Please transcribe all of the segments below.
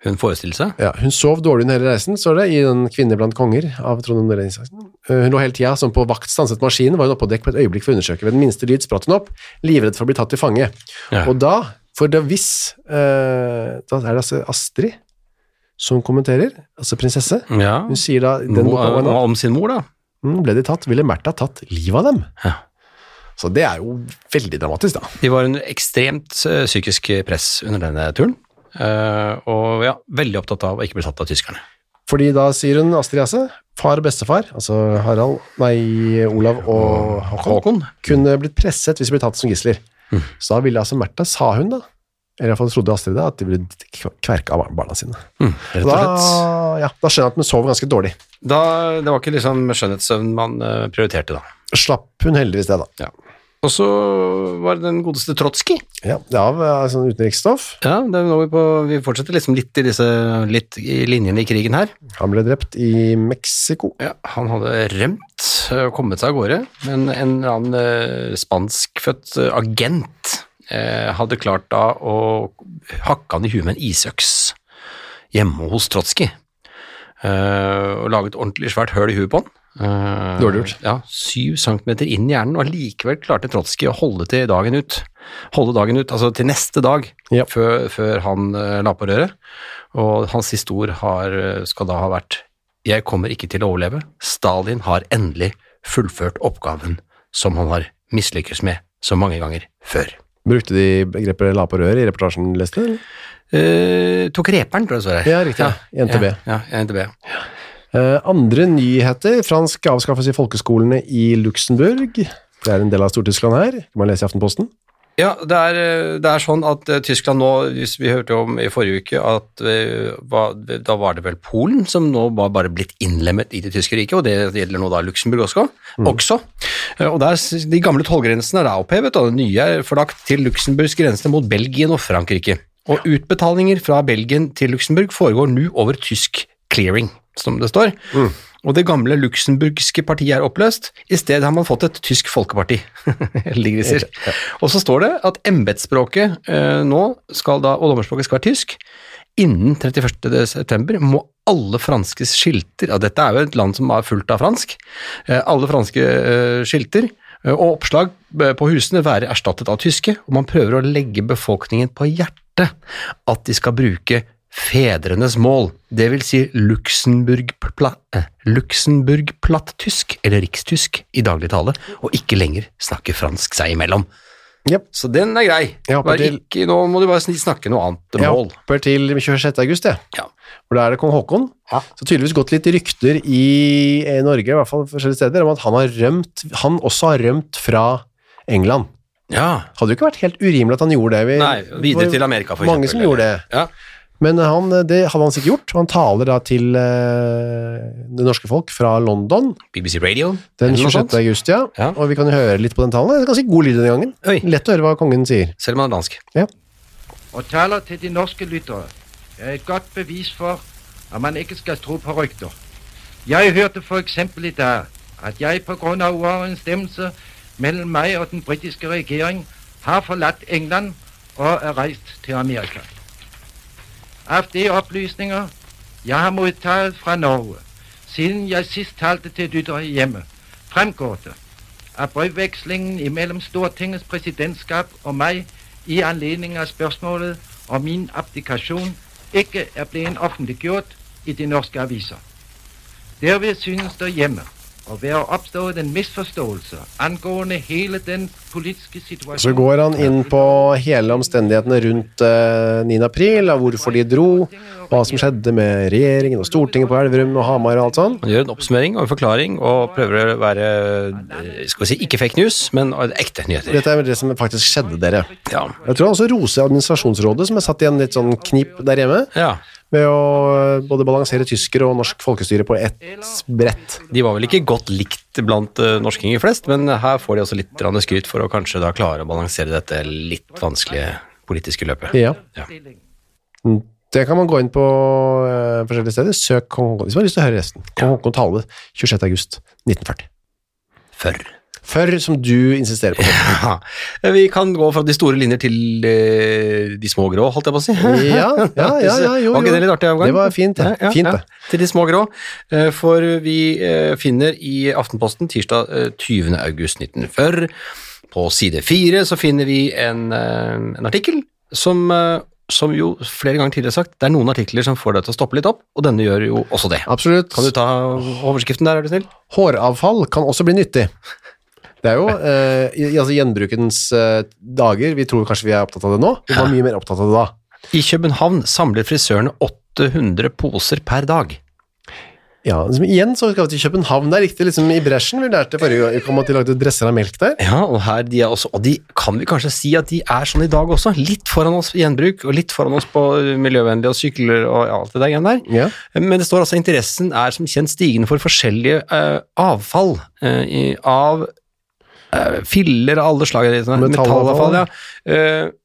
hun forestiller seg. Ja, hun sov dårlig under hele reisen, står det, i den Kvinner blant konger av Trond André Isaksen. Eh, Hun lå hele tida som på vakt stanset maskinen, var hun oppe på dekk på et øyeblikk for å undersøke. Ved den minste lyd spratt hun opp, livredd for å bli tatt til fange. Ja. Og da, for da hvis eh, Da er det altså Astrid som kommenterer, altså prinsesse. Ja, Hun sier da den Mo- boka var nå. og om sin mor, da. Mm, ble de tatt, ville Märtha tatt livet av dem. Ja. Så det er jo veldig dramatisk, da. De var under ekstremt eh, psykisk press under denne turen. eh, og ja, veldig opptatt av å ikke bli tatt av tyskerne. Fordi da sier hun Astrid Jesse, far og bestefar, altså Harald, nei, Olav og Håkon, Håkon? kunne blitt presset hvis de ble tatt som gisler. Så da ville altså Märtha, sa hun da, eller iallfall trodde Astrid det, at de ville kv- kverke av barna sine. Mm, Rett og Da, slett. ja, da skjønner jeg at hun sov ganske dårlig. Da, det var ikke liksom skjønnhetssøvn man eh, prioriterte, da. Slapp hun heldigvis det, da. Og så var det den godeste Trotskij. Ja, det er av eh, sånn utenriksstoff. Ja, det er nå vi, på, vi fortsetter liksom litt i disse litt i linjene i krigen her. Han ble drept i Mexico. Ja, han hadde rømt eh, og kommet seg av gårde, men en eller annen eh, spanskfødt eh, agent eh, hadde klart da å hakke han i huet med en isøks hjemme hos Trotskij. Eh, og laget ordentlig svært høl i huet på han. Eh, Dårlig gjort. Ja, syv centimeter inn i hjernen, og allikevel klarte Trotskij å holde til dagen ut. Holde dagen ut, altså til neste dag, Ja. før, før han eh, la på røret. Og hans historie har, eh, skal da ha vært Jeg kommer ikke til å overleve. Stalin har endelig fullført oppgaven som han har mislykkes med så mange ganger før. Brukte de begrepet la på røret i reportasjen du leste? eller? Eh, tok reperen, tror jeg det står her. Ja, riktig. I NTB. Ja, ja, NTB. Eh, andre nyheter. Fransk avskaffes i folkeskolene i Luxembourg. Det er en del av Stortyskland her. Det kan man lese i Aftenposten. Ja, det er, det er sånn at eh, Tyskland nå, hvis vi hørte om i forrige uke, at eh, hva- da var det vel Polen som nå var bare blitt innlemmet i det tyske riket, og det gjelder nå da Luxembourg også. Mm. også. Eh, Og der, s- de gamle tollgrensene er da opphevet, og det nye er forlagt til Luxembourgs grense mot Belgien og Frankrike. Og utbetalinger fra Belgien til Luxembourg foregår nå over tysk clearing, som det står. Og det gamle luxemburgske partiet er oppløst. I stedet har man fått et tysk folkeparti. Heldige griser. Og så står det at embetsspråket eh, nå skal da, og dommerspråket skal være tysk. Innen 31. september må alle franske skilter, ja dette er jo et land som er fullt av fransk, eh, alle franske eh, skilter eh, og oppslag eh, på husene være erstattet av tyske, og man prøver å legge befolkningen på hjertet at de skal bruke fedrenes mål, det vil si Luxemburg-platt Luxemburg tysk, eller rikstysk i daglig tale, og ikke lenger snakke fransk seg imellom. Jep. Så den er grei. Jeg hopper Bare til- ikke, nå må du bare sn- snakke noe annet Jeg mål. hopper til 26. august, jeg. Ja. For da er det kong Haakon. Ja. Så tydeligvis gått litt rykter i, i Norge, i hvert fall forskjellige steder, om at han, har rømt, han også har rømt fra England. ja. Hadde jo ikke vært helt urimelig at han gjorde det. Vi- Nei, videre det var til Amerika, for Eh, Mange eksempel, som gjorde det. Ja. Men han, det hadde han sikkert gjort. og Han taler da til eh, det norske folk fra London BBC Radio. den eller 26. noe sånt. august, ja. Ja. Og vi kan høre litt på den talen. Det er ganske god lyd denne gangen. Oi. Lett å høre hva kongen sier. Selv om han er dansk. og taler til de norske lyttere, er et godt bevis for at man ikke skal tro på rykter. Jeg hørte for eksempel i dag at jeg på grunn av uoverensstemmelse mellom meg og den britiske regjering har forlatt England og er reist til Amerika. Av de opplysninger jeg har mottatt fra Norge siden jeg sist talte til lyttere hjemme, fremgår det at brevvekslingen mellom Stortingets presidentskap og meg i anledning av spørsmålet om min abdikasjon ikke er blitt offentliggjort i de norske aviser. Derved synes det hjemme å være oppstått en misforståelse angående hele den politiske situasjonen Så går han inn på hele omstendighetene rundt eh, 9. april, av hvorfor de dro, hva som skjedde med regjeringen og Stortinget på Elverum og Hamar og alt sånn. Han gjør en oppsummering og en forklaring og prøver å være eh, skal vi si, ikke fake news, men ekte nyheter. Dette er vel det som faktisk skjedde, dere. Ja. Jeg tror han også roser administrasjonsrådet, som er satt i en litt sånn knip der hjemme, ja. med å eh, både balansere tyskere og norsk folkestyre på ett brett. De var vel ikke godt likt blant eh, norskinger flest, men her får de også litt grann skryt for å kanskje da klare å balansere dette litt vanskelige politiske løpet. Ja. Ja. Det kan man gå inn på eh, forskjellige steder. Søk Kong Haakon, hvis man har lyst til å høre resten. Kong Haakon tale 26. august 1940. Før. Før som du insisterer på. Haha. Vi kan gå fra de store linjer til eh, de små grå, holdt jeg på å si. Ja, ja, ja, ja, jo, jo. Var ikke det litt artig omgang? Det var fint, det. Fint, det. Til de små grå. Eh, For vi eh, finner i Aftenposten tirsdag eh, 20. august 1940, på side 4 så finner vi en, eh, en artikkel som, eh, som jo flere ganger tidligere sagt, det er noen artikler som får deg til å stoppe litt opp, og denne gjør jo også det. Absolutt. Kan du ta overskriften der, er du snill? Håravfall kan også bli nyttig. Det er jo eh, i, altså gjenbrukens eh, dager. Vi tror kanskje vi er opptatt av det nå. Vi var mye mer opptatt av det da. I København samler frisørene 800 poser per dag. Ja, liksom, igjen så skal vi til København. Det er riktig liksom, i bresjen. Vi lærte forrige gang om at de lagde dresser av melk der. Ja, og her de er også, og de kan vi kanskje si at de er sånn i dag også. Litt foran oss i gjenbruk, og litt foran oss på miljøvennlige og sykler og alt det der igjen der. Ja. Men det står altså interessen er som kjent stigende for forskjellige eh, avfall eh, i, av eh, filler av alle slag. eller sånn, Metallavfall. Metallavfall, ja. Eh,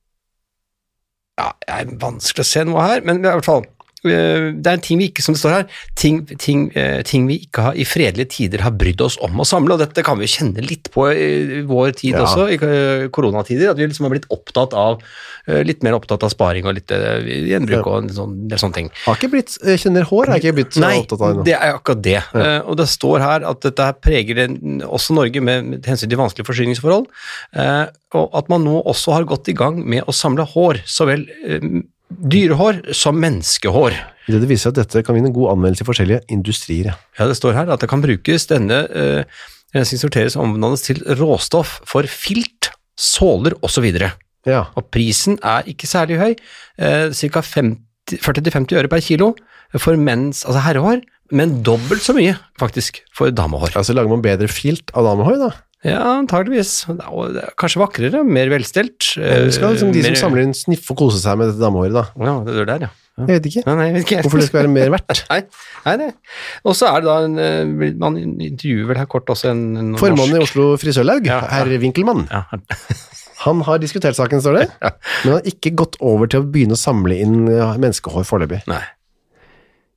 ja, det er vanskelig å se noe her, men i hvert fall eh, det er ting vi ikke, som det står her, ting, ting, eh, ting vi ikke har, i fredelige tider har brydd oss om å samle, og dette kan vi jo kjenne litt på i vår tid Ja. også, i eh, koronatider, at vi liksom har blitt opptatt av, eh, litt mer opptatt av sparing og litt eh, gjenbruk og en sånn, del sånne ting. Har ikke blitt eh, Kjenner hår, har ikke blitt så Nei, opptatt av det nå. det er akkurat det. Eh, og det står her at dette her preger en- også Norge med, med hensyn til vanskelige forsyningsforhold, eh, og at man nå også har gått i gang med å samle hår, så vel eh, dyrehår som menneskehår. Det, det viser at dette kan vinne god anmeldelse i forskjellige industrier. ja. Ja, det står her at det kan brukes denne eh, Rensing sorteres og omdannes til råstoff for filt, såler osv. Og Ja. prisen er ikke særlig høy, eh, ca. 40-50 øre per kilo for menns, altså herrehår, men dobbelt så mye faktisk for damehår. ja, så lager man bedre filt av damehår, da. Ja, antageligvis. Og det er Kanskje vakrere, mer velstelt. eh, Eller skal liksom de som mer- samler inn sniffe og kose seg med dette damehåret, da? Ja, det er der, ja. ja. Jeg vet ikke. Nei, nei, jeg vet ikke. Hvorfor det skal være mer verdt. Nei, nei, nei. Og så er det da en eh, blir- Man intervjuer vel her kort også en, en Formannen i norsk- Oslo frisørlaug, Ja, ja. herr Winkelmann, Ja, her- han har diskutert saken, står det, men han har ikke gått over til å begynne å samle inn eh, menneskehår foreløpig. Nei.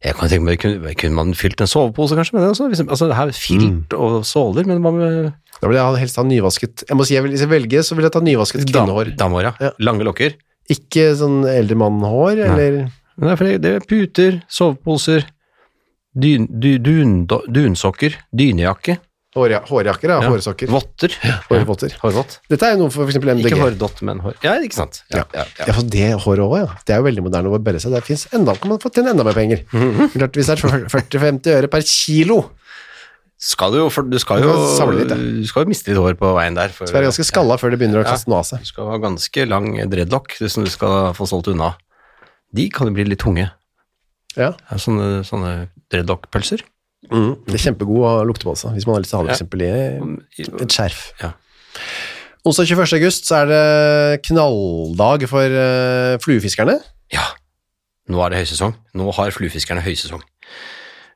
Jeg kan tenke meg, kunne, kunne man fylt en sovepose kanskje med det også? Hvis, altså, det her er filt Mm. og såler, men hva med Da vil jeg ha- helst ha nyvasket Jeg må si, jeg vil, hvis jeg velger, så vil jeg ta nyvasket kvinnehår. Dam- Damehår, ja. Ja. Lange lokker. Ikke sånn eldre mannhår, eller Men det er fordi det er puter, soveposer, dyn, du, dun, dunsokker, dynejakke, hårja, hårjakker, ja, ja, hårsokker, votter, hårvotter. hårvott. Dette er jo noe for f.eks. MDG. Ikke hårdott, men hår... Ja, ikke sant. Ja, ja, ja. Ja, for det håret også, ja. Det er jo veldig moderne å barbere seg. Der finnes enda, kan man få tjene enda mer penger. Mhm. Klart, hvis det er 40-50 øre per kilo, Skal du, jo- for, du, skal Du jo, kan samle litt, ja. du skal jo miste litt hår på veien der. For, så er det ganske skalla før det begynner å kaste noe av seg. Du skal ha ganske lang dreadlock som du skal få solgt unna. De kan jo bli litt tunge. Ja. Det er Sånne, sånne dreadlock-pølser. Det er kjempegod å lukte på altså, hvis man har lyst til å ha det Mm. Ja. for eksempel i et skjerf. Ja. Onsdag 21. august så er det knalldag for eh, fluefiskerne. Ja, nå er det høysesong. Nå har fluefiskerne høysesong.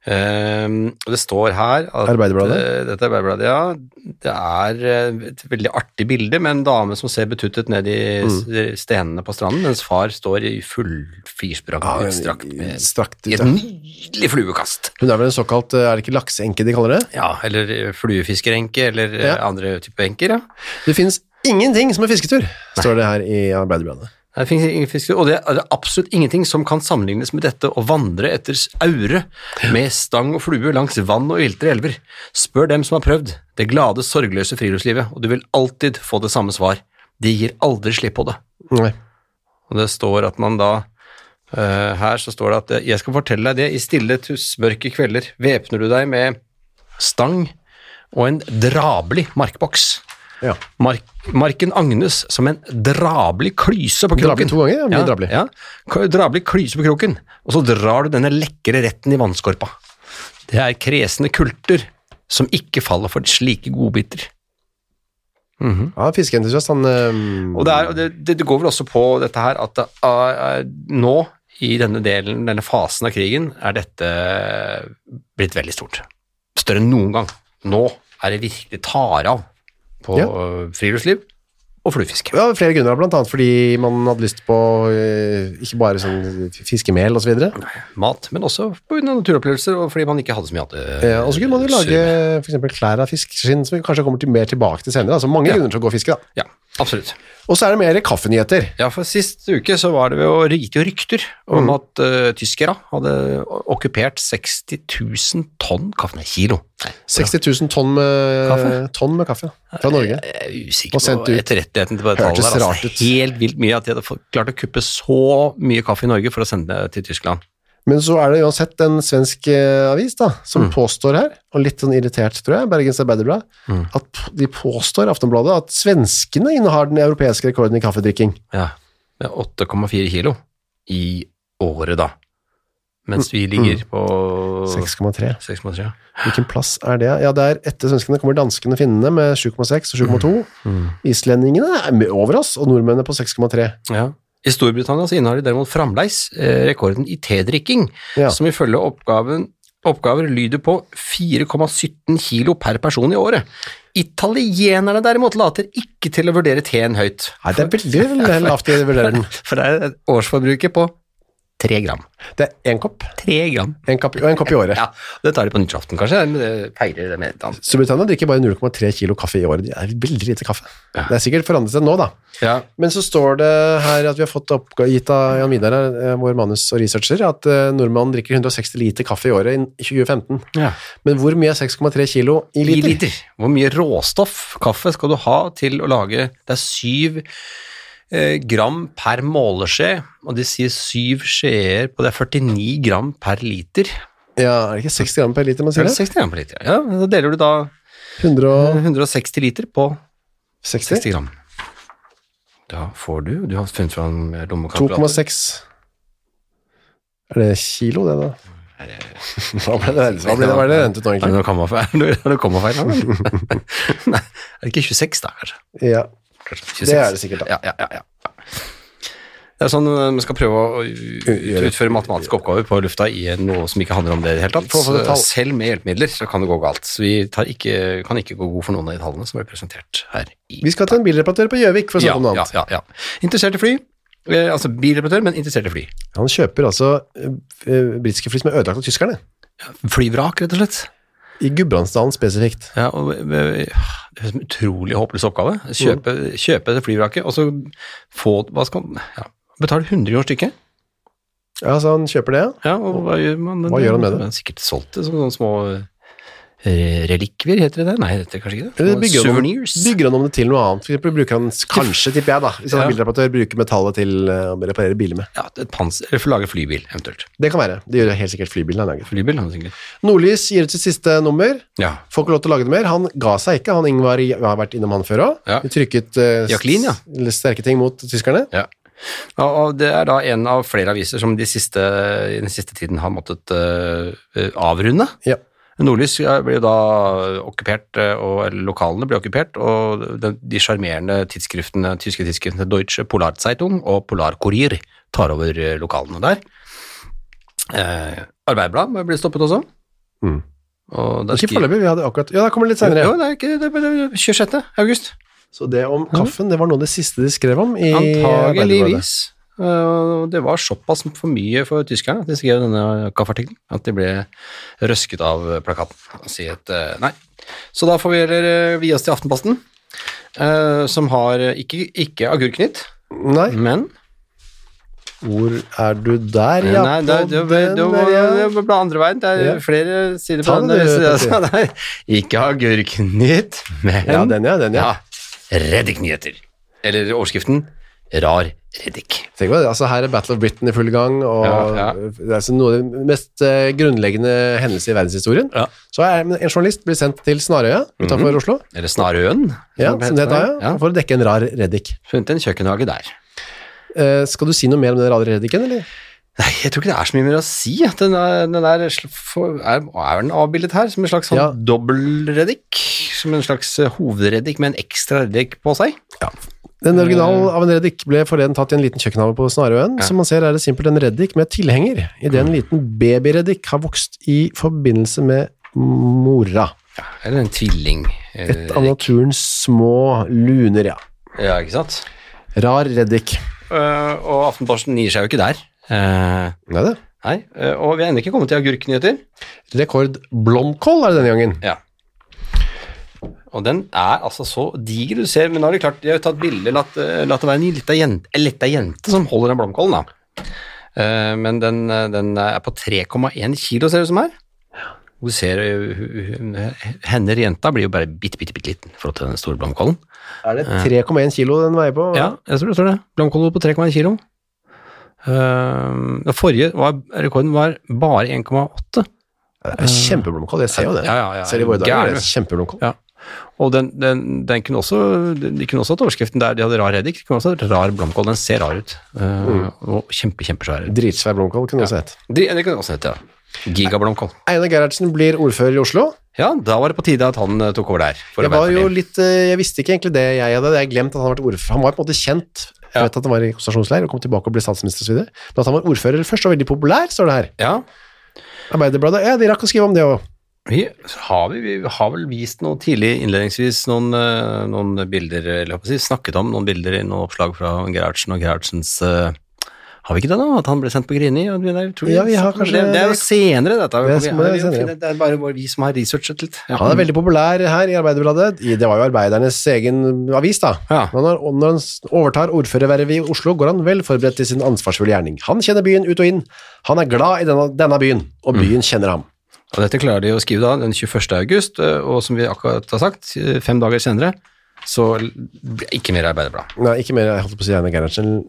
Ehm, og det står her at, Arbeiderbladet? Eh, dette er Arbeiderbladet, ja. Det er eh, et veldig artig bilde med en dame som ser betuttet ned i Mm. s- stenene på stranden, mens far står i full firsprakk utstrakt med strakt eh, i ut, et Ah, ja. nydelig fluekast. Hun er vel en såkalt, eh, er det ikke laksenke de kaller det? Ja, eller eh, fluefiskerenke, eller eh, Ja. andre typer enker, ja. Det finnes ingenting som er fisketur, står det her i Arbeiderbladet. Det finnes ingen fisker, og det er det absolutt ingenting som kan sammenlignes med dette å vandre etter s- aure med stang og flue langs vann og viltre elver. Spør dem som har prøvd det glade, sorgløse friluftslivet, og du vil alltid få det samme svar. De gir aldri slipp på det. Nei. Og det står at man da eh, Her så står det at eh, jeg skal fortelle deg det i stille, tussmørke kvelder. Væpner du deg med stang og en drabelig markboks. Ja. Mark, marken agnes som en drabelig klyse på Drabelig kroken. to ganger, ja, mye ja, drabelig. Ja, K- drabelig klyse på kroken, og så drar du denne lekre retten i vannskorpa. Det er kresne kulter som ikke faller for slike godbiter. Ja, fiskeentusiast, han eh, Og det, er, og det, det, det går vel også på dette her at det er, er, nå, i denne delen, denne fasen av krigen, er dette blitt veldig stort. Større enn noen gang. Nå er det virkelig tar av på Ja. øh, friluftsliv og fluefiske. Ja, flere grunner, blant annet fordi man hadde lyst på eh, ikke bare sånn fiskemel og så videre. Mat, men også pga. naturopplevelser og fordi man ikke hadde så mye annet. Eh, Og så kunne man jo lage for eksempel klær av fiskeskinn, som vi kanskje kommer til mer tilbake til senere. Altså mange grunner til å gå og fiske, da. Ja, absolutt. Og så er det mer kaffenyheter. Ja, for sist uke så var det jo gikk det jo rykter om Mm. at eh, tyskere hadde okkupert 60 000 tonn kaffe, nei, kilo. Nei, 60 000 tonn med kaffe, Kaffe? eh. tonn med kaffe fra Norge. Jeg er Og usikker sendt på ut. etterrettigheten til det tallet. Hørtes der, rart Altså, ut. helt vilt mye at de hadde fått- klart å kuppe så mye kaffe i Norge for å sende det til Tyskland. Men så er det uansett en svensk eh, avis da, som påstår her, og litt sånn irritert, tror jeg, Bergens Arbeiderblad, at p- de påstår, Aftenbladet, at svenskene innehar den europeiske rekorden i kaffedrikking. Ja, Med 8,4 kilo i året, da. Mens Mm. vi ligger på 6,3. 6,3. Hvilken plass er det? Ja, det er etter svenskene kommer danskene og finnene med 7,6 og 7,2. Mm. Islendingene er med over oss, og nordmennene på 6,3. Ja. I Storbritannia så innehar de derimot fremdeles eh, rekorden i tedrikking, Ja. som ifølge oppgaven Oppgaver lyder på 4,17 kilo per person i året. Italienerne derimot later ikke til å vurdere teen høyt. Nei, det er veldig veldig lavt i vurderingen. For det er årsforbruket på tre gram. Det er én kopp, Tre gram. en kopp og en kopp i året. Ja, det tar de på nyttårsaften, kanskje. men det Feirer det med et annet. Storbritannia drikker bare 0,3 kilo kaffe i året. Det er veldig lite kaffe. Ja. Det er sikkert forandret seg nå, da. Ja. Men så står det her at vi har fått oppga- gitt av Jan Vidar, her, eh, vår manus og researcher, at eh, nordmannen drikker 160 liter kaffe i året i 2015. Men hvor mye er 6,3 kilo i I liter? liter. Hvor mye råstoff kaffe skal du ha til å lage Det er syv eh, gram per måleskje, og de sier syv skjeer på Det er 49 gram per liter. Ja, er det ikke 60 gram per liter man Det sier er det? 60 gram per liter, ja. ja. Da deler du da 160 160 liter på 60 gram. Da får du Du har funnet fram eh, lommekalkulator. 2,6 Er det kilo, det, da? Hva ble det, hva ble det, hva er det rent ut nå, Er det egentlig? noe kommafeil? Er det noe kommafeil her, vel? Nei, er det ikke 26 da, kanskje? Ja. Kanskje 26. Det er det sikkert, da. Ja, ja, ja, ja. Det er sånn eh, man skal prøve å Gjøre- eh, utføre matematiske oppgaver på lufta i eh, noe som ikke handler om det i det hele tatt. Prøv å få det Så tall. Selv med hjelpemidler så kan det gå galt. Så vi tar ikke, kan ikke gå god for noen av de tallene som ble presentert her i Vi skal til en bilreparatør på Gjøvik, for å ja, snakke om noe ja, annet. ja, ja. Interessert i fly. Eh, altså bilreparatør, men interessert i fly. Han kjøper altså eh, eh, britiske fly som er ødelagt av tyskerne. Flyvrak, rett og slett. I Gudbrandsdalen spesifikt. Ja, og, eh, det høres ut som en utrolig håpløs oppgave. Mm. Kjøpe, kjøpe det flyvraket, og så få hva skal, man- ja, Betale 100 kroner stykket. Ja, så han kjøper det, ja. Ja, og hva gjør man? Hva gjør han med det? har sikkert solgt det som sånne små eh, relikvier, heter det det? Nei, det heter kanskje ikke det. Eller Eh, bygger han, om, Souvenirs. bygger han om det til noe annet? For eksempel bruker han, kanskje, tipper jeg da, hvis han Ja. er bilreparatør, bruker metallet til eh, å reparere biler med. Ja, et panser, eller for å lage flybil, eventuelt. Det kan være. Det gjør helt sikkert flybilen han lager. Flybil, han sikkert. Nordlys gir ut sitt siste nummer. Ja. Får ikke lov til å lage det mer. Han ga seg ikke. Han Ingvar jeg har vært innom han før òg. Ja. Vi trykket eh, s- Jacqueline, ja. eller sterke ting mot tyskerne. ja. Og, og det er da en av flere aviser som de siste, i den siste tiden har måttet eh, avrunde. Ja. Nordlys ja, ble jo da okkupert, eh, og eller lokalene ble okkupert, og de- de sjarmerende tidsskriftene, tyske tidsskriftene Deutsche Polarzeitung og Polarkurier tar over eh, lokalene der. Eh, Arbeiderbladet ble stoppet også. Mm. Og der Ikke skriver- foreløpig. Vi hadde akkurat Ja, det kommer litt senere. Jo, det er ikke, det er- det er 26. august. Så det om kaffen, det var noe av det siste de skrev om i Arbeiderbladet. Mm. Antageligvis. Eh, og Det var såpass for mye for tyskerne at de skrev denne kaffartikkelen, at de ble røsket av plakaten og si et eh, nei. Så da får vi heller eh, vie oss til Aftenposten, eh, som har eh, ikke, ikke agurknytt, Nei, men hvor er du der, ja? Nei, det, på det, det, det, den var- der, ja. det var andre veien. Det er Ja. flere sider på Ta den. det, du, så- Petter. så- nei, ikke agurknytt, men ja, den, ja. Den, ja. Ja, Reddik-nyheter. Eller overskriften Rar Reddik. Tenk på det, altså Her er Battle of Britain i full gang, og Ja, ja. det er altså noe av det mest eh, grunnleggende hendelse i verdenshistorien. Ja. Så er, en journalist blir sendt til Snarøya utenfor Oslo, Eller Snarøen. ja, det som det heter. heter, ja, Ja, for å dekke en rar reddik. Funnet en kjøkkenhage der. Eh, skal du si noe mer om den rare reddiken, eller? Nei, jeg tror ikke det er så mye mer å si. at Den er, den er, sl- for- er, er den avbildet her som en slags sånn Ja. dobbeltreddik? Som en slags eh, hovedreddik med en ekstra reddik på seg? Den Eh. originalen av en reddik ble forleden tatt i en liten kjøkkenhave på Snarøen. Som man ser er det simpelt en reddik med tilhenger, idet Mm. en liten babyreddik har vokst i forbindelse med mora. Ja, eller en tvilling. eh, Et av naturens små luner, ja. Ja, ikke sant? Rar reddik. Eh, og Aftenposten gir seg jo ikke der. Eh, Nei det. nei, eh, og vi er ennå ikke kommet til agurknyheter. Rekord blomkål er det denne gangen. Ja. Og den er altså så diger, du ser, men nå har de klart, de har jo tatt bilder, latt, eh, latt det være en lita jente, en lita jente som holder den blomkålen da. Eh, men den, eh, den er på 3,1 kilo, ser det ut som her. Og Du ser, eh, hu- hun- henne jenta blir jo bare bitte, bitte, bitte liten for å ta den store blomkålen. Er det 3,1 kilo den veier på? Ja, jeg tror det står det. Blomkålen på 3,1 kilo. Eh, den forrige var, rekorden var bare 1,8. Det er kjempeblomkål, jeg ser jo det. Ja, ja, ja. Ser i våre dager, Gæren, det er kjempeblomkål. Ja. Og den, den, den kunne også, de kunne også hatt overskriften der de hadde rar reddik. De kunne også hatt rar blomkål. Den ser rar ut. Eh, Og kjempe, kjempesvær. Dritsvær blomkål kunne det også hett. De, det kunne også hett, ja. Gigablomkål. Einar Gerhardsen blir ordfører i Oslo. Ja, da var det på tide at han eh, tok over der. for Jeg var jo Arbeiderpartiet. litt, eh, jeg visste ikke egentlig det jeg hadde, jeg hadde glemt at han var ordfører. Han var på en måte kjent, jeg Ja. vet at han var i konsentrasjonsleir og kom tilbake og ble statsminister og så videre, men at han var ordfører først og veldig populær, står det her. Ja, Arbeiderbladet, ja, de rakk å skrive om det også. vi har, vi, vi har vel vist noe tidlig innledningsvis noen, eh, noen bilder, eller hva skal jeg si, snakket om noen bilder i noen oppslag fra Gerhardsen og Gerhardsens eh, har vi ikke det da? At han ble sendt på Grini? og det der, tror jeg- Ja, vi har kanskje- det, det er jo senere, dette. Det er som- det er jo- senere. det er bare vi som har researchet litt. Ja. Han er veldig populær her i Arbeiderbladet, I- det var jo arbeidernes egen avis da. Ja. Men Når, og når han s- overtar ordførervervet i Oslo, går han vel forberedt til sin ansvarsfulle gjerning. Han kjenner byen ut og inn, han er glad i denne, denne byen, og Mm. byen kjenner ham. Og dette klarer de å skrive da den 21. august, eh, og som vi akkurat har sagt, eh, fem dager senere, så l- ble ikke mer Arbeiderblad. Nei, ikke mer, jeg holdt på å si Einar Gerhardsen.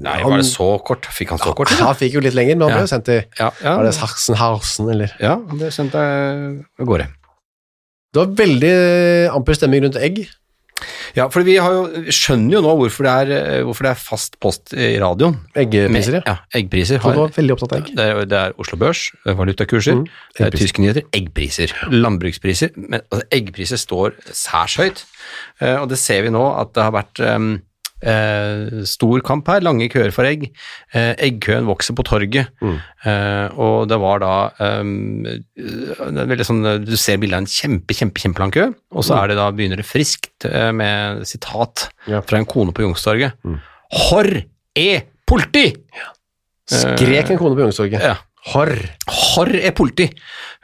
Nei, var det så kort? Fikk han så kort? eller? Han fikk jo litt lenger, men han Ja. ble jo sendt til Ja, Var ja, det Sachsenhausen, eller? ja det sendte jeg av gårde. Det var veldig amper stemming rundt egg. Ja, for vi har jo, skjønner jo nå hvorfor det, er, eh, hvorfor det er fast post i radioen. Eggpriser, Med- ja. Eggpriser. Og du Har, var veldig opptatt av egg. det, er, det er Oslo Børs, eh, valutakurser, det er tyske nyheter, eggpriser, landbrukspriser. Men altså, eggpriser står særs høyt, eh, og det ser vi nå at det har vært em, eh, stor kamp her, lange køer for egg. Eh, eggkøen vokser på torget, eh, og det var da em, eh, det er veldig sånn, eh, Du ser bildet av en kjempe, kjempe, kjempelang kø, og så er det da, begynner det friskt eh, med sitat Ja. fra en kone på Youngstorget. Horr e politi! Skrek en kone på Youngstorget. Ja. Horr. Harr er politi!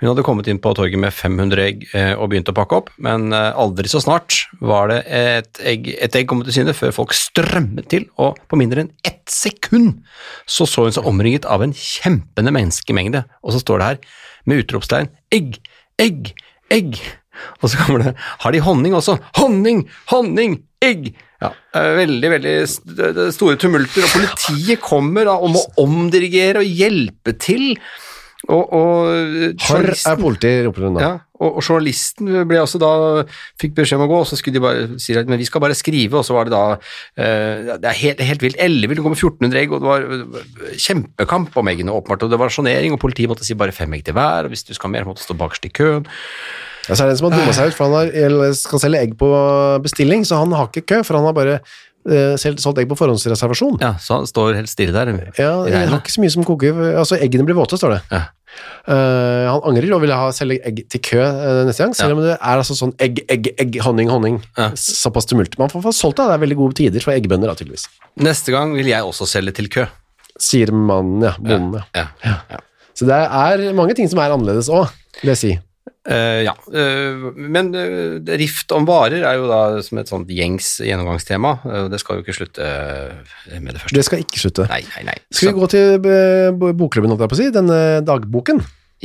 Hun hadde kommet inn på torget med 500 egg eh, og begynt å pakke opp, men eh, aldri så snart var det et egg, et egg kom til syne før folk strømmet til, og på mindre enn ett sekund så så hun seg omringet av en kjempende menneskemengde, og så står det her med utropstegn 'egg, egg, egg', og så kommer det 'har de honning også'? Honning, honning, egg! Ja, eh, veldig, veldig st- det- det er store tumulter, og politiet kommer da om å omdirigere og hjelpe til. Og, Horr og journalisten- er politi, roper hun da. ja, og, og journalisten ble også da, fikk beskjed om å gå, og så skulle de bare si at men vi skal bare skrive, og så var det da eh, Det er helt, helt vilt. 11 det kommer 1400 egg, og det var eh, kjempekamp om eggene, åpenbart. Og det var sjonering, og politiet måtte si bare fem egg til hver, og hvis du skal ha mer, måtte du stå bakerst i køen. Ja, så er det en som har dumma seg ut, for han har, eller skal selge egg på bestilling, så han har ikke kø, for han har bare eh, selv solgt egg på forhåndsreservasjon. Ja. Ja, så han står helt stille der. i jeg har regnet. ikke så mye som koker Altså, eggene blir våte, står det. Ja. Eh, han angrer og vil ha selge egg til kø eh, neste gang, selv om det er altså sånn egg, egg, egg, honning, honning. Ja. Såpass tumult. Man får få solgt det, det er veldig gode tider for eggbønder, da, tydeligvis. Neste gang vil jeg også selge til kø. Sier mannen, ja. Bonden, ja. Ja. Så det er mange ting som er annerledes òg, vil jeg si. Eh, ja, eh, men eh, det- rift om varer er jo da som et sånt gjengs gjennomgangstema. eh, og det skal jo ikke slutte eh, med det første. Det skal ikke slutte. Nei, nei, nei. Skal vi gå til eh, bo- bokklubben, holdt jeg på å si, denne dagboken,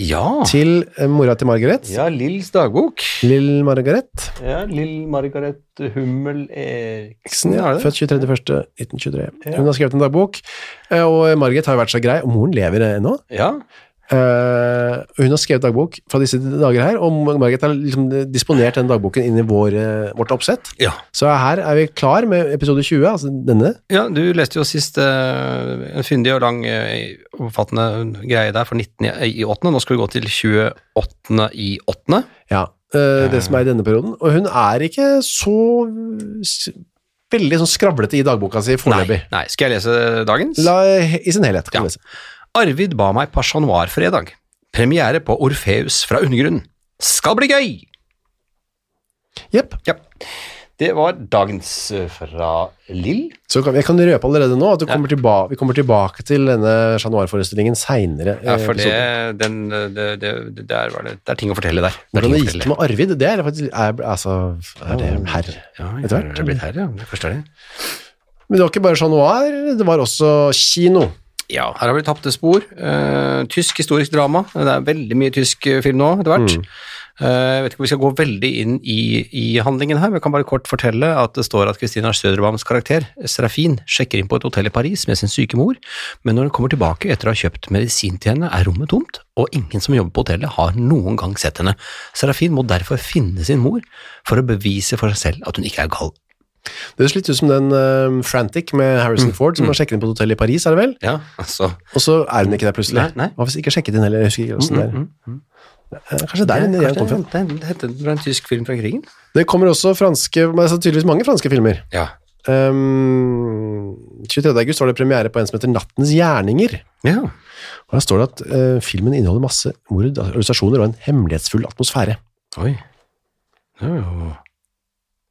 Ja. til eh, mora til Margaret. ja, Lills dagbok. Lill Margaret Ja, Lill Margaret Hummel Eriksen, Eriksen, ja, født 23.1.1923. Hun har skrevet en dagbok, eh, og Margaret har jo vært så grei, og moren lever eh, ennå. Ja. Eh, Hun har skrevet dagbok fra disse dager her, og Margaret har liksom disponert den dagboken inn i vår, eh, vårt oppsett. ja. Så her er vi klar med episode 20, altså denne. du leste jo sist eh, en fyndig og lang eh, omfattende greie der for 19 i- i 8. Nå skal vi gå til 28. i 8. Ja, eh, det som er i denne perioden. Og hun er ikke så s- veldig sånn skravlete i dagboka si Nei, foreløpig. nei, skal jeg lese dagens? La, I sin helhet, kan Ja. du lese. Arvid ba meg par januar fredag. Premiere på Orfeus fra undergrunnen. Skal bli gøy! Jepp. Ja. Det var dagens eh, fra Lill. Så kan, jeg kan røpe allerede nå at det kommer tilba- vi kommer tilbake til denne Chat Noir-forestillingen eh, seinere. Ja, for det, den, eh, det, det, det, der var det, det er ting å fortelle der. Det er Hvordan ting det å gikk fortelle. med Arvid, det er faktisk er, altså, er det herr. Ja, jeg etter har hvert, jeg har blitt her, ja. Det første er det. Men det var ikke bare Chat Noir, det var også kino. Ja, her har vi tapte spor. Eh, tysk historisk drama. Det er veldig mye tysk eh, film nå etter hvert. Eh, jeg vet ikke om vi skal gå veldig inn i, i handlingen her, men jeg kan bare kort fortelle at det står at Kristina Søderbams karakter, Serafin, sjekker inn på et hotell i Paris med sin syke mor, men når hun kommer tilbake etter å ha kjøpt medisin til henne, er rommet tomt, og ingen som jobber på hotellet har noen gang sett henne. Serafin må derfor finne sin mor for å bevise for seg selv at hun ikke er gal. Det høres litt ut som den eh, Frantic med Harrison Mm, Ford som har sjekket inn på et hotell i Paris, er det vel? Ja, altså... Og så er hun ikke der plutselig. Nei, nei. Hva hvis jeg ikke har sjekket inn heller? Jeg husker ikke hvordan det er. Eh, Kanskje der den ideen kom fra. Mm. Kanskje det, det, det, det var en tysk film fra krigen? Det kommer også franske, men altså tydeligvis mange franske filmer. Ja. Um, 23. august var det premiere på en som heter Nattens gjerninger. Ja. Og her står det at eh, filmen inneholder masse mord, Altså, organisasjoner og en hemmelighetsfull atmosfære. Oi. Det er jo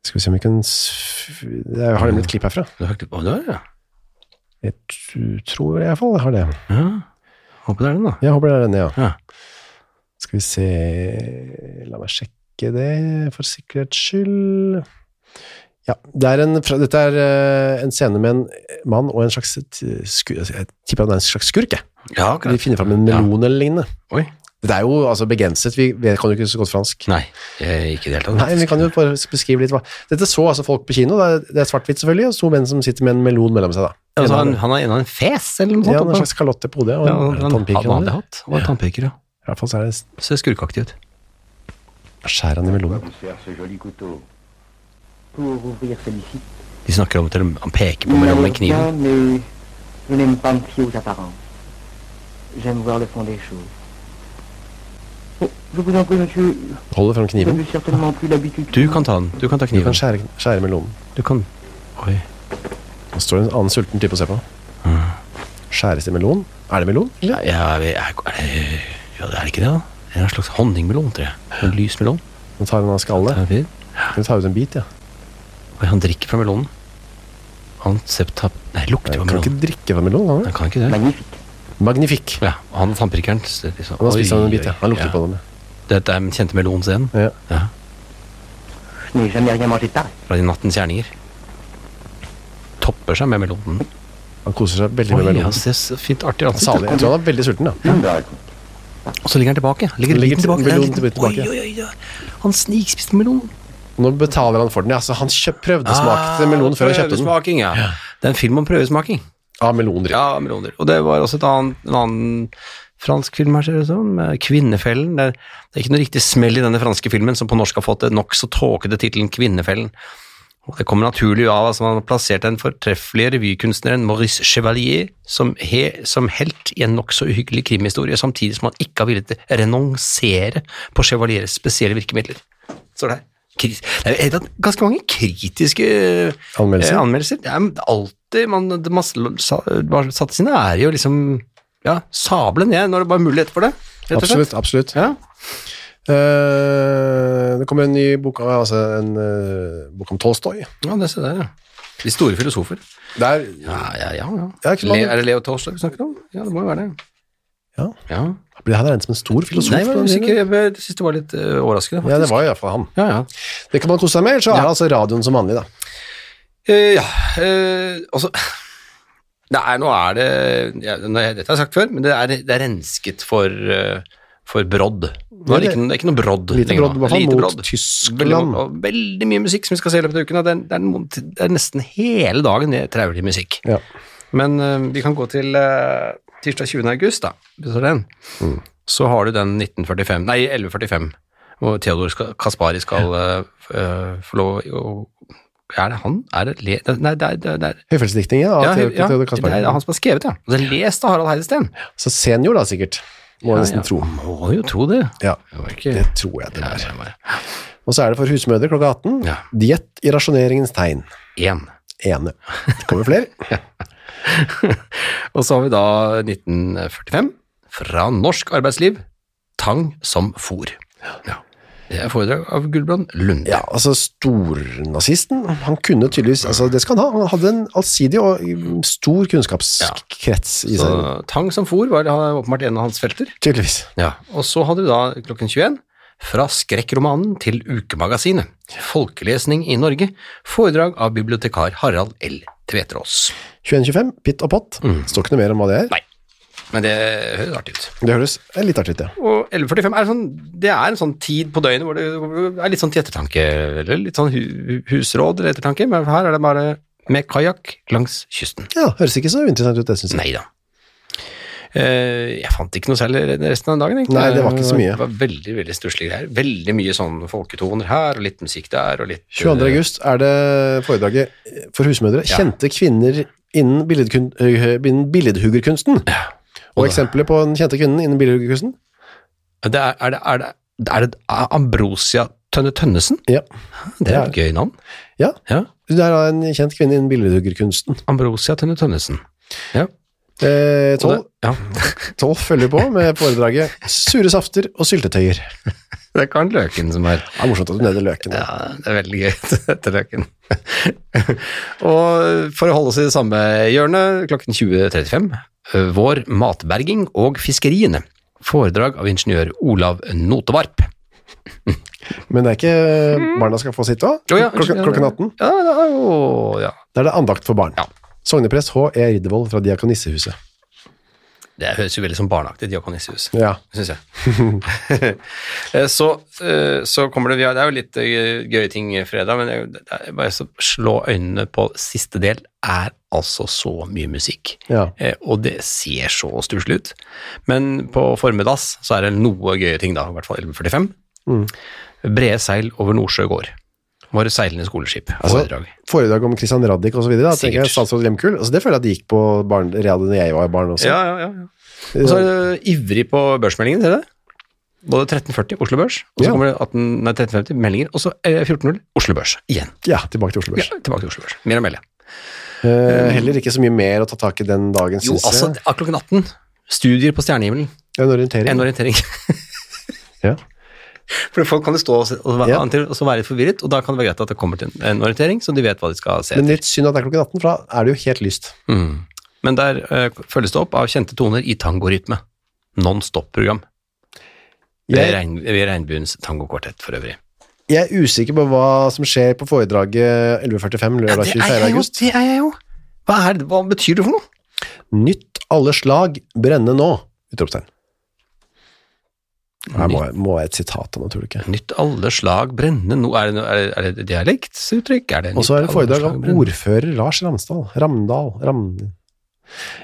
Skal vi se om vi kan s- Jeg har nemlig et klipp herfra. det er høyt oppå der, ja. Jeg t- tror i hvert fall jeg har det. ja. Håper det er den, da. Jeg håper det er denne, ja. Ja. Skal vi se La meg sjekke det for sikkerhets skyld. Ja, det er en, fra- dette er eh, en scene med en mann og en slags t- sku, Jeg tipper han er en slags skurk, jeg. Ja, De finner fram en melon eller lignende. Oi. Dette er jo altså begrenset, vi vet, kan jo ikke så godt fransk. Nei, eh, ikke i det hele Nei, tatt. vi kan jo bare beskrive litt hva Dette så altså folk på kino, det er, det er svart-hvitt selvfølgelig, og to menn som sitter med en melon mellom seg, da. Altså, han, en, han har ennå en fes, eller noe ja, sånt. en slags kalotte på hodet, og ja, en han, han, tannpirker. han eller hadde noe. hatt. Og en tannpeker, ja. I hvert fall så er det Ser skurkeaktig ut. Skjærer han i Pourquoi melonen. vous faire ce joli couteau Pour ouvrir celui-ci. De snakker om at de- han peker på Il melonen med m'allait kniven. bien, mais je n'aime pas me fier aux apparences. J'aime voir le fond des choses. Oh, Je vous en prie, monsieur, Holder fram vous kniven. Mm. n'avez certainement plus l'habitude. Du kan ta den. Du kan ta Du kan kniven. skjære, skjære melonen. Du kan Oi. Nå står det en annen sulten type å se på. Skjæres det melon? Er det melon? Ja, ja, vi- er, er, det, ja, det er ikke det, da? Det er En slags honningmelon, tror jeg. En lys melon. Nå tar han av skallet. Den er fin. Kan du ta ut en bit, ja? Oi, han drikker fra melonen. Han septap... Nei, lukter Jeg på kan melonen. ikke drikke fra melonen, kan Han kan ikke det. Magnifique. Magnifikk. Ja, og han tannpirkeren så- liksom, Han har spist oi, han en bit, ja. oi, Han lukter på den. Dette er den kjente melonscenen Ja. ja, Je n'ai jamais rien mangé de pareil. fra de nattens gjerninger. Topper seg med melonen. Han koser seg veldig Oi, med ja, melonen. se så fint artig ansikt. Salig. Jeg tror han er veldig sulten, da. Og så ligger han tilbake. Ligger Han ligger biten tilbake. til- melonen Nei, til biten oi, tilbake. oi, oi, oi. Han snikspiste melonen. Nå betaler han for den, ja. Så han kjøp, prøvde Ah, smakte melon før han kjøpte den. Prøvesmaking, ja. Det er en film om prøvesmaking. Av melondritt. Ja, meloner. Og det var også et annet, en annen fransk film her, ser det ut som. eh, Kvinnefellen. Det er, det er ikke noe riktig smell i denne franske filmen, som på norsk har fått det nokså tåkete tittelen Kvinnefellen. Og det kommer naturlig av at man har plassert den fortreffelige revykunstneren Maurice Chevalier som, he, som helt i en nokså uhyggelig krimhistorie, samtidig som han ikke har villet renonsere på Chevaliers spesielle virkemidler. Står det her. Kris- Det er jo helt at ganske mange kritiske eh, Anmeldelser. eh, anmeldelser. Det er alltid Man, det- man sl- sa- bare satte sin ære i å liksom ja, sable ned når det var mulighet for det. rett og slett. Absolutt. absolutt. Ja. Eh, det kommer en ny bok, altså en eh, bok om Tolstoy. ja, det ser der, ja. De store filosofer. Der, Ja, ja, ja. Det ja. er ikke så mange- Le, er det Leo Tolstoy vi snakker om? Ja, det må jo være det. Ja. ja. ble han regnet som en stor filosof? Nei, jeg, var på den usikker. tiden? jeg ble- jeg synes det var litt eh, overraskende, Ja, det faktisk. var i hvert fall han. Ja, ja. Det kan man kose seg med, ellers så er det altså radioen som vanlig, da. Eh, ja, eh, altså Nei, nå er det ja, nå, er- Dette har jeg sagt før, men det er, det er rensket for, eh, for brodd. Nå er det, ikke, noe- det er ikke noe brodd Lite lenger nå. brodd, i hvert fall Lite mot brodd. Veldig, Tyskland. og veldig mye musikk som vi skal se i løpet av uken. og Det er, det er, noen, det er nesten hele dagen det er traurig musikk. Ja. Men eh, vi kan gå til eh, tirsdag 20. august, da. Hvis det er den. Mm. Så har du den 1945, nei 1145, hvor Theodor skal, Kaspari skal eh, f- eh, få lov å Er det han? Er det le... Nei, det er, det er, det er Høyfjellsdiktningen av ja, Theo- ja, Theodor det Castberg. er han som har skrevet, ja. Og det er lest av Harald Heidesteen. Så senior, da, sikkert. Må jeg nesten tro. Må jo tro det. Ja, Det var ikke det tror jeg det Nei, er. det var Og så er det for husmødre klokka 18. Ja. Diett i rasjoneringens tegn. én. Ene. Det kommer flere. Og så har vi da 1945, fra norsk arbeidsliv, tang som fôr. Ja. Det er foredrag av Gulbrand Lunde. Ja, altså stornazisten, han kunne tydeligvis, altså det skal han ha, han hadde en allsidig og mm, stor kunnskapskrets i så seg, tang som fôr var da åpenbart en av hans felter. tydeligvis. Ja. Og så hadde du da klokken 21, fra skrekkromanen til ukemagasinet, folkelesning i Norge, foredrag av bibliotekar Harald L. Tvetrås. 21.25, pitt og pott, står ikke noe mer om hva det er. Mm. Nei, men det høres artig ut. Det høres litt artig ut, ja. Og 11.45 er, sånn, det er en sånn tid på døgnet hvor det hvor det er litt sånn til ettertanke, eller litt sånn hu, hu- husråd eller ettertanke, men her er det bare med kajakk langs kysten. Ja, høres ikke så interessant ut, det synes jeg. Nei da. Eh, jeg fant ikke noe særlig resten av dagen. egentlig. Nei, det var ikke så mye. Det var Veldig veldig stusslige greier. Veldig mye sånn folketoner her, og litt musikk der, og litt eh, 22. august er det foredraget for husmødre. Kjente kvinner innen, billedkun- øh, innen billedhuggerkunsten. Og eksempler på den kjente kvinnen innen billedhuggerkunsten? Det er, er, det, er, det, er det Ambrosia Tønne Tønnesen? Ja. Det er et gøy navn. Ja. ja. Det er da en kjent kvinne innen billedhuggerkunsten. Ambrosia Tønne Tønnesen. Ja. Eh, Og Tolv det- ja. tolv følger på med foredraget 'Sure safter og syltetøyer'. Det Det er Karen Løken som er er morsomt at du nevner løken. Ja, det er veldig gøy etter Løken. og for å holde oss i det samme hjørnet, klokken 20.35, eh, Vår matberging og fiskeriene. Foredrag av ingeniør Olav Notevarp. Men det er ikke barna skal få sitt òg? Å ja, Klokka, klokken 18? Ja, det er jo- ja. Da er det andakt for barn. Ja. Sogneprest H.E. Riddervold fra Diakonissehuset. Det høres jo veldig sånn som barneaktig diakonisshus. Ja. syns jeg. Eh, så, eh, så kommer det Det er jo litt eh, gøye ting fredag, men jeg, det er bare så slå øynene på siste del er altså så mye musikk. Ja. Eh, Og det ser så stusslig Mm. ut. Men på formiddags så er det noe gøye ting, da. I hvert fall 11.45. brede seil over Nordsjø gård. Var seilende skoleskip av Altså, foredrag. Foredrag om Christian Raddik og så videre, da, tenker jeg Sikkert. statsråd Lehmkuhl. Altså, det føler jeg at det gikk på barn, radio når jeg var barn også. Ja, ja, ja. ja. Og så er du ivrig på børsmeldingen, ser du det? Både 1340 Oslo Børs, og så Ja. kommer det 18, nei, 1350 meldinger, og så eh, 1400 Oslo Børs igjen. Ja, tilbake til Oslo Ja, Børs. tilbake til Oslo Børs. Mer å melde. Eh, heller ikke så mye mer å ta tak i den dagen, Jo, synes altså, jeg. det er klokken 18. Studier på stjernehimmelen. En orientering. En orientering. Ja. For folk kan jo stå og, se- og, være- Ja. og så være litt forvirret, og da kan det være greit at det kommer til en- en orientering, så de vet hva de skal se. Men litt synd at det er klokken 18, for da er det jo helt lyst. Mm. Men der eh, følges det opp av kjente toner i tangorytme. Non stop-program. Ved, Jeg, regn, ved Regnbuens tangokvartett, for øvrig. jeg er usikker på hva som skjer på foredraget 11.45 Ja, lørdag det 24. er jeg jo! august. Det er jeg jo. Hva, er, det- hva betyr det for noe? Nytt alle slag, brenne nå! Utropstegn. Her må, Nytt, jeg- må jeg et sitat om, tror du ikke. nytt alle slag brenne nå Er det, noe- er det, er det dialektsuttrykk? Er det Og så er nytt det alle foredrag slag av brenne? ordfører Lars Ramsdal. Ramdal. Ram...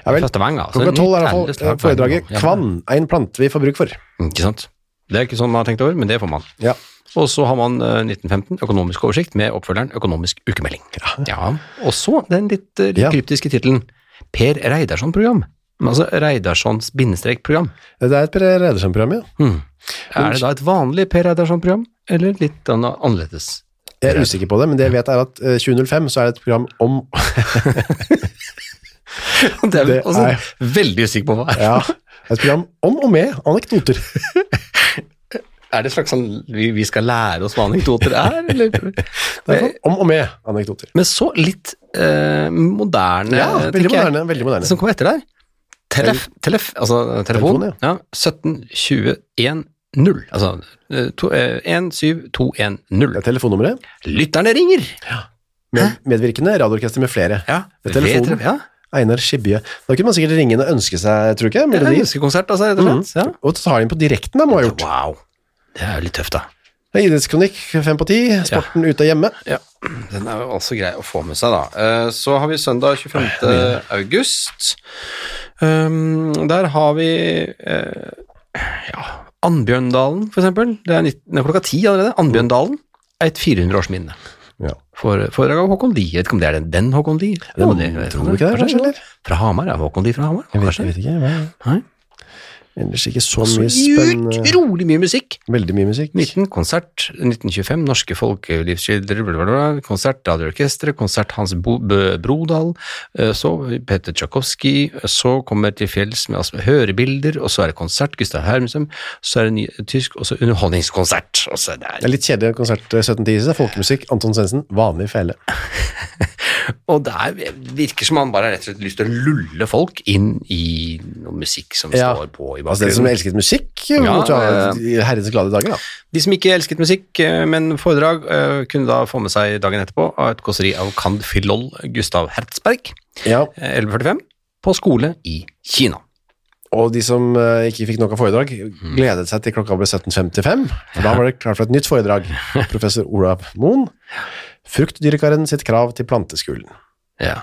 Ja vel. Fra Stavanger, altså. Klokka tolv er Nytt i alle hvert slag fall foredraget brenne nå. Ja. 'Kvann ein plante vi får bruk for'. Ikke sant? Det er ikke sånn man har tenkt over, men det får man. Ja. Og så har man eh, 1915, økonomisk oversikt, med oppfølgeren Økonomisk ukemelding. Ja. Og så den litt, eh, litt Ja. kryptiske tittelen Per Reidarsson-program. Men Altså Reidarssons bindestrek-program. Det er et Per Redersen-program, ja. Er det da et vanlig Per Reidarsson-program, eller litt an- annerledes? Jeg er usikker på det, men det jeg vet er at eh, 2005 så er det et program om Det er, Det altså, er- veldig usikker på hva er. Ja, et program om og med anekdoter. Er det et slags sånn vi, vi skal lære oss hva anekdoter er, eller? Det er sånn, om og med anekdoter. Men så litt eh, moderne, Ja, veldig tenker jeg. moderne. veldig moderne. som kom etter der. Telef, telef, altså telefon. Telefon, ja. 17 20 1 0. Altså eh, to- eh, 1 7 2 1 0. Det er telefonnummeret. Lytterne ringer! Med, medvirkende, radioorkester med flere. Ja, Ved telefonen. Ja, Einar Skibje. Da kunne man sikkert ringe inn og ønske seg, tror du ikke? det er en Melodier. ønskekonsert, altså, rett og slett. Ja. Og ta inn på direkten, da, må ha gjort. Wow. Det er jo litt tøft, da. Det er Idrettskronikk fem på ti. Sporten ute og hjemme. Den er jo også grei å få med seg, da. Eh, Så har vi søndag 25. august. Um, Der har vi eh, ja, Andbjørndalen, for eksempel. Det er 19, nei, klokka ti allerede. Andbjørndalen er et 400-årsminne. Ja. For foredrag av Håkon Lie. Jeg vet ikke om det er den, den Håkon Lie. Det må dere- tror du ikke det, kanskje? eller? Fra Hamar, ja. Håkon Lie fra Hamar. Jeg vet, kanskje. jeg vet ikke. Hva? Nei. Ellers ikke så Så mye spennende utrolig mye musikk! Veldig mye musikk. 19 konsert, 1925, norske folkelivsskildrere, bla, bla, bla, konsert Radioorkesteret, konsert Hans Bo Bø Brodal, eh, så Peter Tchaikovsky, så kommer til fjells med altså, hørebilder, og så er det konsert Gustav Hermsem, så er det ny, tysk, og så underholdningskonsert. Og så Det er der. litt kjedelig konsert eh, 1710, så det er folkemusikk. Anton Svendsen, vanlig fele. Og det er- virker som han bare har rett og slett lyst til å lulle folk inn i noe musikk som Ja. står på i Altså, den som bakgrunnen. elsket musikk, ja, måtte jo ha i herrens glade dager, da. De som ikke elsket musikk, eh, men foredrag, eh, kunne da få med seg dagen etterpå av et kåseri av Cand. Filol Gustav Hertzberg. Ja, 11.45 på skole i Kina. og de som eh, ikke fikk nok av foredrag, gledet seg til klokka ble 17.55, for da var det klart for et nytt foredrag. Professor Olav Moen, fruktdyrkeren sitt krav til planteskolen. Ja.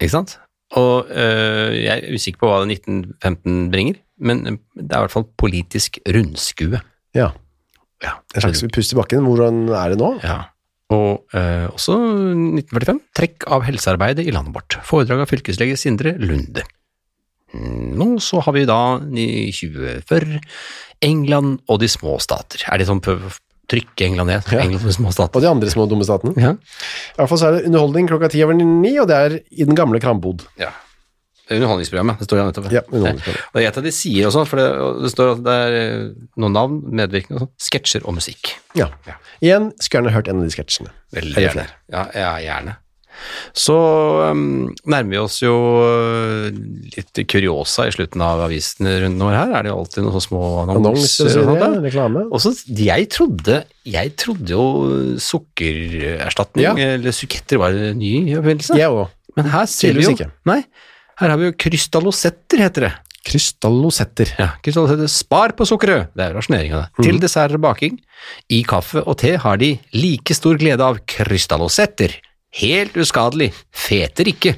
Ikke sant? Og øh, jeg er usikker på hva det 1915 bringer, men øh, det er i hvert fall politisk rundskue. Ja, Ja. en slags Mm. pust i bakken. Hvordan er det nå? Ja. Og øh, også 1945, trekk av helsearbeidet i landet vårt. Foredrag av fylkeslege Sindre Lunde. Mm, Nå så har vi da i 2040 England og de små stater. Er det sånn prøv å trykke England ned? Ja. England og de små stater. Og de andre små dumme statene. Ja. I hvert fall så er det underholdning klokka 10 over 9, og det er i den gamle krambod. ja. Det er Underholdningsprogrammet, det står jo nettopp. Ja, underholdningsprogrammet. Og jeg vet at de sier også, for det, og det står at det er eh, noen navn, medvirkende og sånn, sketsjer og musikk. Ja. Ja. Igjen, skulle gjerne hørt en av de sketsjene. Veldig Jeg er gjerne. Ja, ja, gjerne. Så um, nærmer vi oss jo eh, litt kuriosa i slutten av avisene rundt år her. Er det jo alltid noen sånne små Annonser, annonser? og sånt ja, der. reklame. Og så, jeg trodde, jeg trodde jo sukkererstatning, Ja. eller suketter, var en ny oppfinnelse. Jeg òg. Men her ser vi Tydeligvis jo ikke. Nei, her har vi jo krystallosetter, heter det. Krystallosetter. Ja, Kristian heter Spar på sukkeret, det er rasjoneringa det. Mhm. Til desserter og baking. I kaffe og te har de like stor glede av krystallosetter. Helt uskadelig, feter ikke.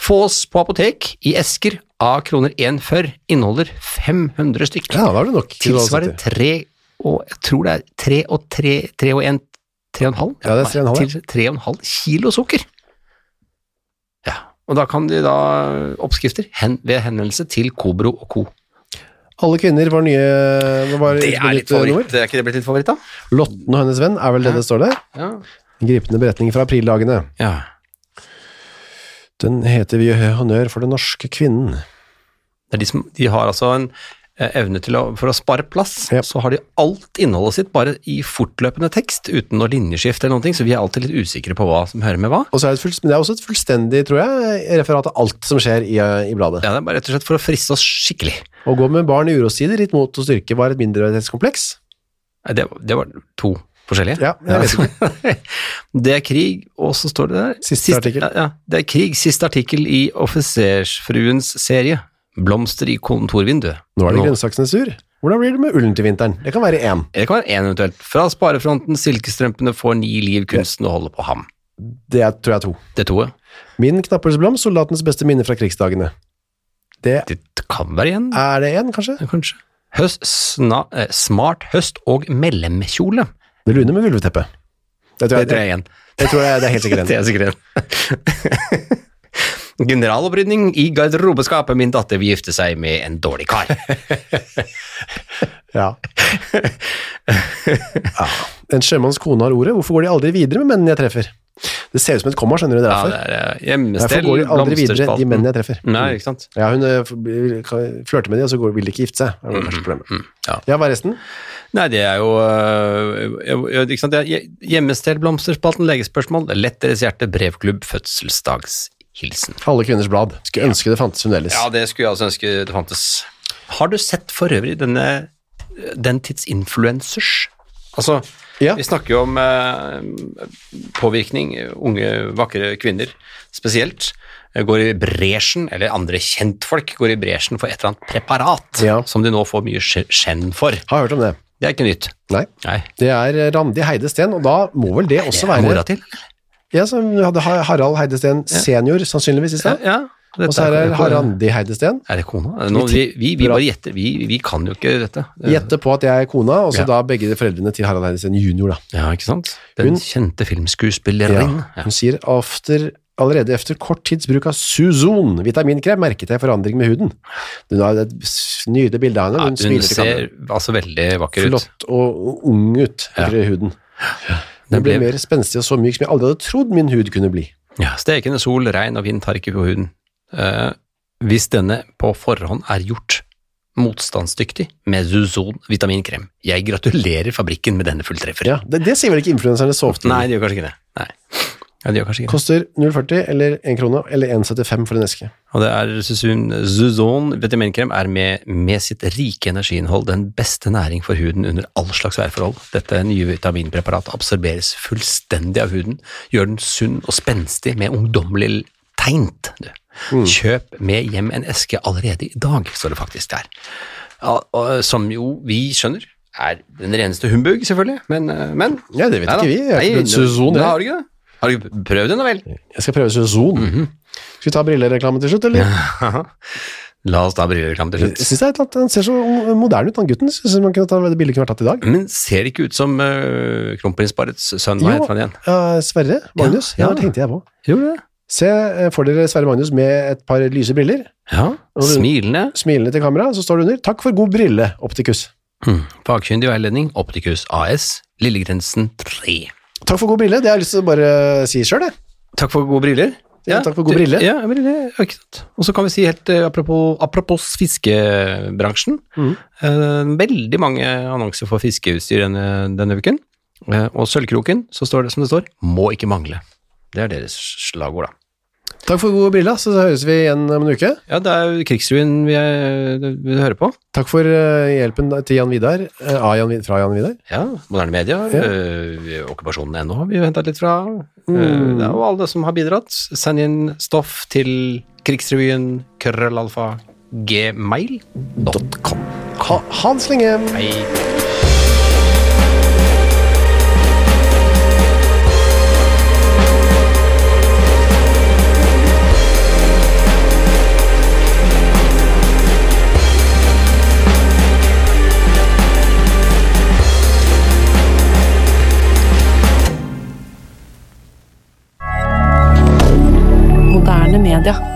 Fås på apotek i esker av kroner 1,40 inneholder 500 stykker. Ja, da er det nok. Tilsvarer krystallosetter. tre og jeg tror det er tre og tre, tre og en, tre og en halv, Ja, det er tre og en halv, ja. til tre og en halv kilo sukker. Ja, og da kan de da oppskrifter hen, ved henvendelse til Kobro og Co. Alle kvinner var nye var Det ute på er nytt litt favoritt, nord. er ikke det blitt litt favoritt da? Lotten og hennes venn er vel det Ja. det står der? Ja. En gripende beretning fra aprildagene. ja. Den heter Vi gjør honnør for den norske kvinnen. Det er de som, de har altså en eh, evne til å, for å spare plass, Ja. så har de alt innholdet sitt bare i fortløpende tekst, uten noe linjeskift eller noen ting, så vi er alltid litt usikre på hva som hører med hva. Og så er det, et fullst- men det er også et fullstendig, tror jeg, referat av alt som skjer i, eh, i bladet. Ja, det er bare rett og slett for å friste oss skikkelig. Å gå med barn i urostider, litt mot og styrke, var et mindreverdighetskompleks. Nei, Det, det var to forskjellige. Ja, jeg vet det er krig, og så står det der Siste artikkel. Ja, ja, det er krig, siste artikkel i Offisersfruens serie. Blomster i kontorvinduet. Nå er det grønnsakssensur. Hvordan blir det med ullen til vinteren? Det kan være én. Det kan være én eventuelt. Fra sparefronten, silkestrømpene får ni liv, kunsten å holde på ham. Det er, tror jeg er to. Det toet. Min knapphølsblomst, soldatens beste minne fra krigsdagene. Det Det kan være igjen, er det én, kanskje? kanskje. Høst, sna, eh, smart høst og mellomkjole. Det lune med vulveteppet. Det tror jeg, Det tror det, jeg er igjen. tror jeg det er helt sikkert Det en. er sikkert en. Generalopprydning i garderobeskapet. Min datter vil gifte seg med en dårlig kar. Ja. ja. En sjømanns kone har ordet. Hvorfor går de aldri videre med mennene jeg treffer? Det ser ut som et komma, skjønner du. Det er Ja, derfor. det er eh, Derfor hjemmestell, går de aldri videre, de blomsterspalten. Mm. mennene jeg treffer. Nei, ikke sant. Ja, hun eh, blir- kan- flørter med de, og så går, vil de ikke gifte seg. Det var kanskje problemet. Mm, ja. ja, hva er resten? Nei, det er jo eh, jo, jo, ikke sant? det er hje- Hjemmestell, blomsterspalten, legespørsmål, lett deres hjerte, brevklubb, fødselsdagshilsen. Alle kvinners blad. Skulle ønske det fantes fremdeles. Ja, det skulle jeg altså ønske det fantes. Har du sett for øvrig denne den tids influencers? Altså, Ja. vi snakker jo om eh, påvirkning, unge, vakre kvinner spesielt, eh, går i bresjen, eller andre kjentfolk går i bresjen for et eller annet preparat, Ja. som de nå får mye skj- skjenn for. Har hørt om det. Det er ikke nytt. Nei. Nei. Det er eh, Randi Heidesteen, og da må vel det Det også er mora være til. Ja, som vi hadde Har- Harald Heidesteen senior, sannsynligvis, i Ja, stad. ja. Dette Og så her er- er Randi Heidesteen. Er det kona? Nå, vi, vi, vi bare gjetter. Vi, vi kan jo ikke dette. Gjette på at jeg er kona, og så Ja. da begge de foreldrene til Harald Heidesteen junior, da. Ja, ikke sant? Den Hun- kjente filmskuespilleren. Ja. Hun sier after Allerede efter kort tids bruk av Suzon vitaminkrem merket jeg forandring med huden. Hun har et s- nydelig bilde av henne. Ja, Hun hun smiler til ser kameraet. altså veldig vakker ut. Flott og ung ut, Ja. heter det i huden. Den Hun ble ble- mer spenstig og så myk som jeg aldri hadde trodd min hud kunne bli. Ja, stekende sol, regn og vind tar ikke på huden. Eh, hvis denne på forhånd er gjort motstandsdyktig med Zuzon vitaminkrem. Jeg gratulerer fabrikken med denne fulltreffer. Ja, det, det sier vel ikke influenserne så ofte? Nei, de gjør kanskje ikke det. Nei. Ja, de gjør kanskje ikke det. Koster 0,40 eller 1 krone, eller 1,75 for en eske. Og det er Zuzon, Zuzon vitaminkrem er med, med sitt rike energiinnhold den beste næring for huden under all slags værforhold. Dette nye vitaminpreparatet absorberes fullstendig av huden, gjør den sunn og spenstig med ungdommelig tegnt. Du. Mm. Kjøp med hjem en eske allerede i dag, står det faktisk der. Ja, og, eh, som jo vi skjønner er den reneste humbug, selvfølgelig, men, eh, men Ja, det vet ikke vi. Jeg har ikke prøvd Suzon, det jeg. har du ikke det? Har du ikke prøvd den, da vel? Jeg skal prøve Suzon. Mhm. Skal vi ta brillereklame til slutt, eller? La oss da brillereklame til Jeg slutt. synes det er et eller annet, Han ser så moderne ut, han gutten. Synes man kunne ta det bildet kunne vært tatt i dag. Men ser det ikke ut som uh, kronprinsparets sønn? Hva Jo. heter han igjen? Ja, Sverre Magnus, ja, Ja, ja. det tenkte jeg på. Gjorde det? Se eh, for dere Sverre Magnus med et par lyse briller, Ja, du- Smilende, smilende til kamera, så står det under 'Takk for god brille, optikus'. hm. fagkyndig veiledning, Optikus AS, Lillegrensen 3. Takk for god brille, det har jeg lyst til å bare eh, si sjøl, jeg. Takk for gode briller. Ja, takk for gode du- briller. Ja, briller, ja, ikke sant. Og så kan vi si helt eh, apropos, apropos fiskebransjen. Mhm. Eh, veldig mange annonser for fiskeutstyr denne, denne uken. Eh, og Sølvkroken, så står det som det står, må ikke mangle. Det er deres slagord, da. Takk for gode briller, så høres vi igjen om en uke. Ja, det er jo krigsruin vi, er, vi hører på. Takk for eh, hjelpen til Jan Vidar, eh, av Jan, Vid- fra Jan Vidar. Ja, moderne media, Ja. eh, okkupasjonen NO har vi henta litt fra. Eh, Mm. det er jo alle som har bidratt. Send inn stoff til krigsrevyen krøllalfa gmail.com. Ha, Hans Lingem! Hei. media.